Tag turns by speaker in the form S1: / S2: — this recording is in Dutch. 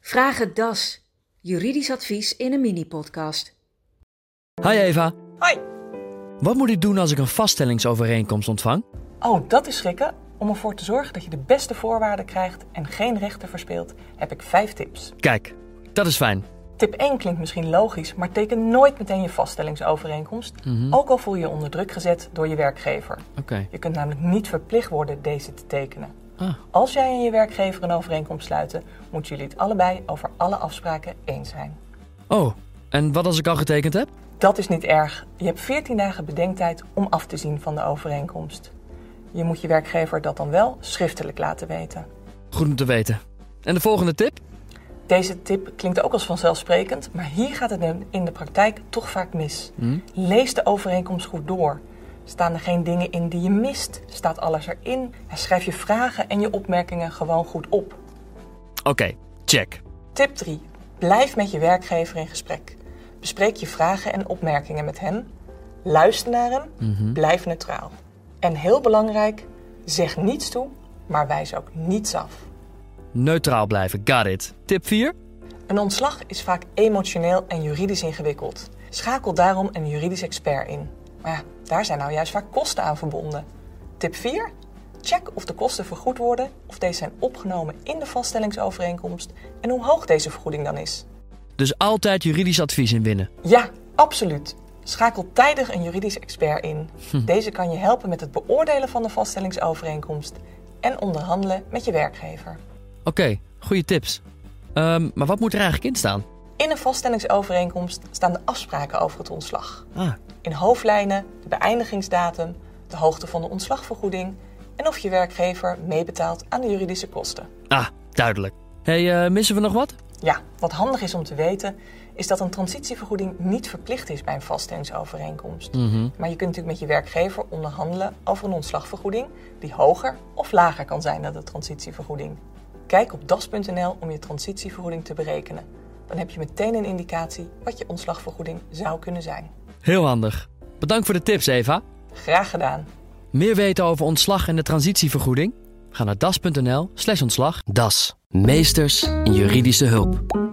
S1: Vraag het DAS. Juridisch advies in een mini-podcast.
S2: Hi Eva,
S3: Hoi.
S2: wat moet ik doen als ik een vaststellingsovereenkomst ontvang?
S3: Oh, dat is schrikken. Om ervoor te zorgen dat je de beste voorwaarden krijgt en geen rechten verspeelt, heb ik vijf tips.
S2: Kijk, dat is fijn.
S3: Tip 1 klinkt misschien logisch, maar teken nooit meteen je vaststellingsovereenkomst, ook al voel je je onder druk gezet door je werkgever.
S2: Oké.
S3: Je kunt namelijk niet verplicht worden deze te tekenen.
S2: Ah.
S3: Als jij en je werkgever een overeenkomst sluiten, moeten jullie het allebei over alle afspraken eens zijn.
S2: Oh, en wat als ik al getekend heb?
S3: Dat is niet erg. Je hebt 14 dagen bedenktijd om af te zien van de overeenkomst. Je moet je werkgever dat dan wel schriftelijk laten weten.
S2: Goed om te weten. En de volgende tip?
S3: Deze tip klinkt ook als vanzelfsprekend, maar hier gaat het in de praktijk toch vaak mis. Lees de overeenkomst goed door. Staan er geen dingen in die je mist? Staat alles erin? En schrijf je vragen en je opmerkingen gewoon goed op.
S2: Oké, check.
S3: Tip 3. Blijf met je werkgever in gesprek. Bespreek je vragen en opmerkingen met hem. Luister naar hem. Blijf neutraal. En heel belangrijk, zeg niets toe, maar wijs ook niets af.
S2: Neutraal blijven, got it. Tip 4?
S3: Een ontslag is vaak emotioneel en juridisch ingewikkeld. Schakel daarom een juridisch expert in. Maar ja, daar zijn nou juist vaak kosten aan verbonden. Tip 4. Check of de kosten vergoed worden, of deze zijn opgenomen in de vaststellingsovereenkomst en hoe hoog deze vergoeding dan is.
S2: Dus altijd juridisch advies inwinnen.
S3: Ja, absoluut. Schakel tijdig een juridisch expert in. Deze kan je helpen met het beoordelen van de vaststellingsovereenkomst en onderhandelen met je werkgever.
S2: Oké, goede tips. Ehm, maar wat moet er eigenlijk in staan?
S3: In een vaststellingsovereenkomst staan de afspraken over het ontslag.
S2: Ah,
S3: In hoofdlijnen de beëindigingsdatum, de hoogte van de ontslagvergoeding en of je werkgever meebetaalt aan de juridische kosten.
S2: ah duidelijk. hey, eh, missen we nog wat?
S3: Ja, wat handig is om te weten, is dat een transitievergoeding niet verplicht is bij een vaststellingsovereenkomst. Maar je kunt natuurlijk met je werkgever onderhandelen over een ontslagvergoeding die hoger of lager kan zijn dan de transitievergoeding. Kijk op das.nl om je transitievergoeding te berekenen. Dan heb je meteen een indicatie wat je ontslagvergoeding zou kunnen zijn.
S2: Heel handig. Bedankt voor de tips, Eva.
S3: Graag gedaan!
S2: Meer weten over ontslag en de transitievergoeding? Ga naar das.nl slash ontslag. Das. Meesters in juridische hulp.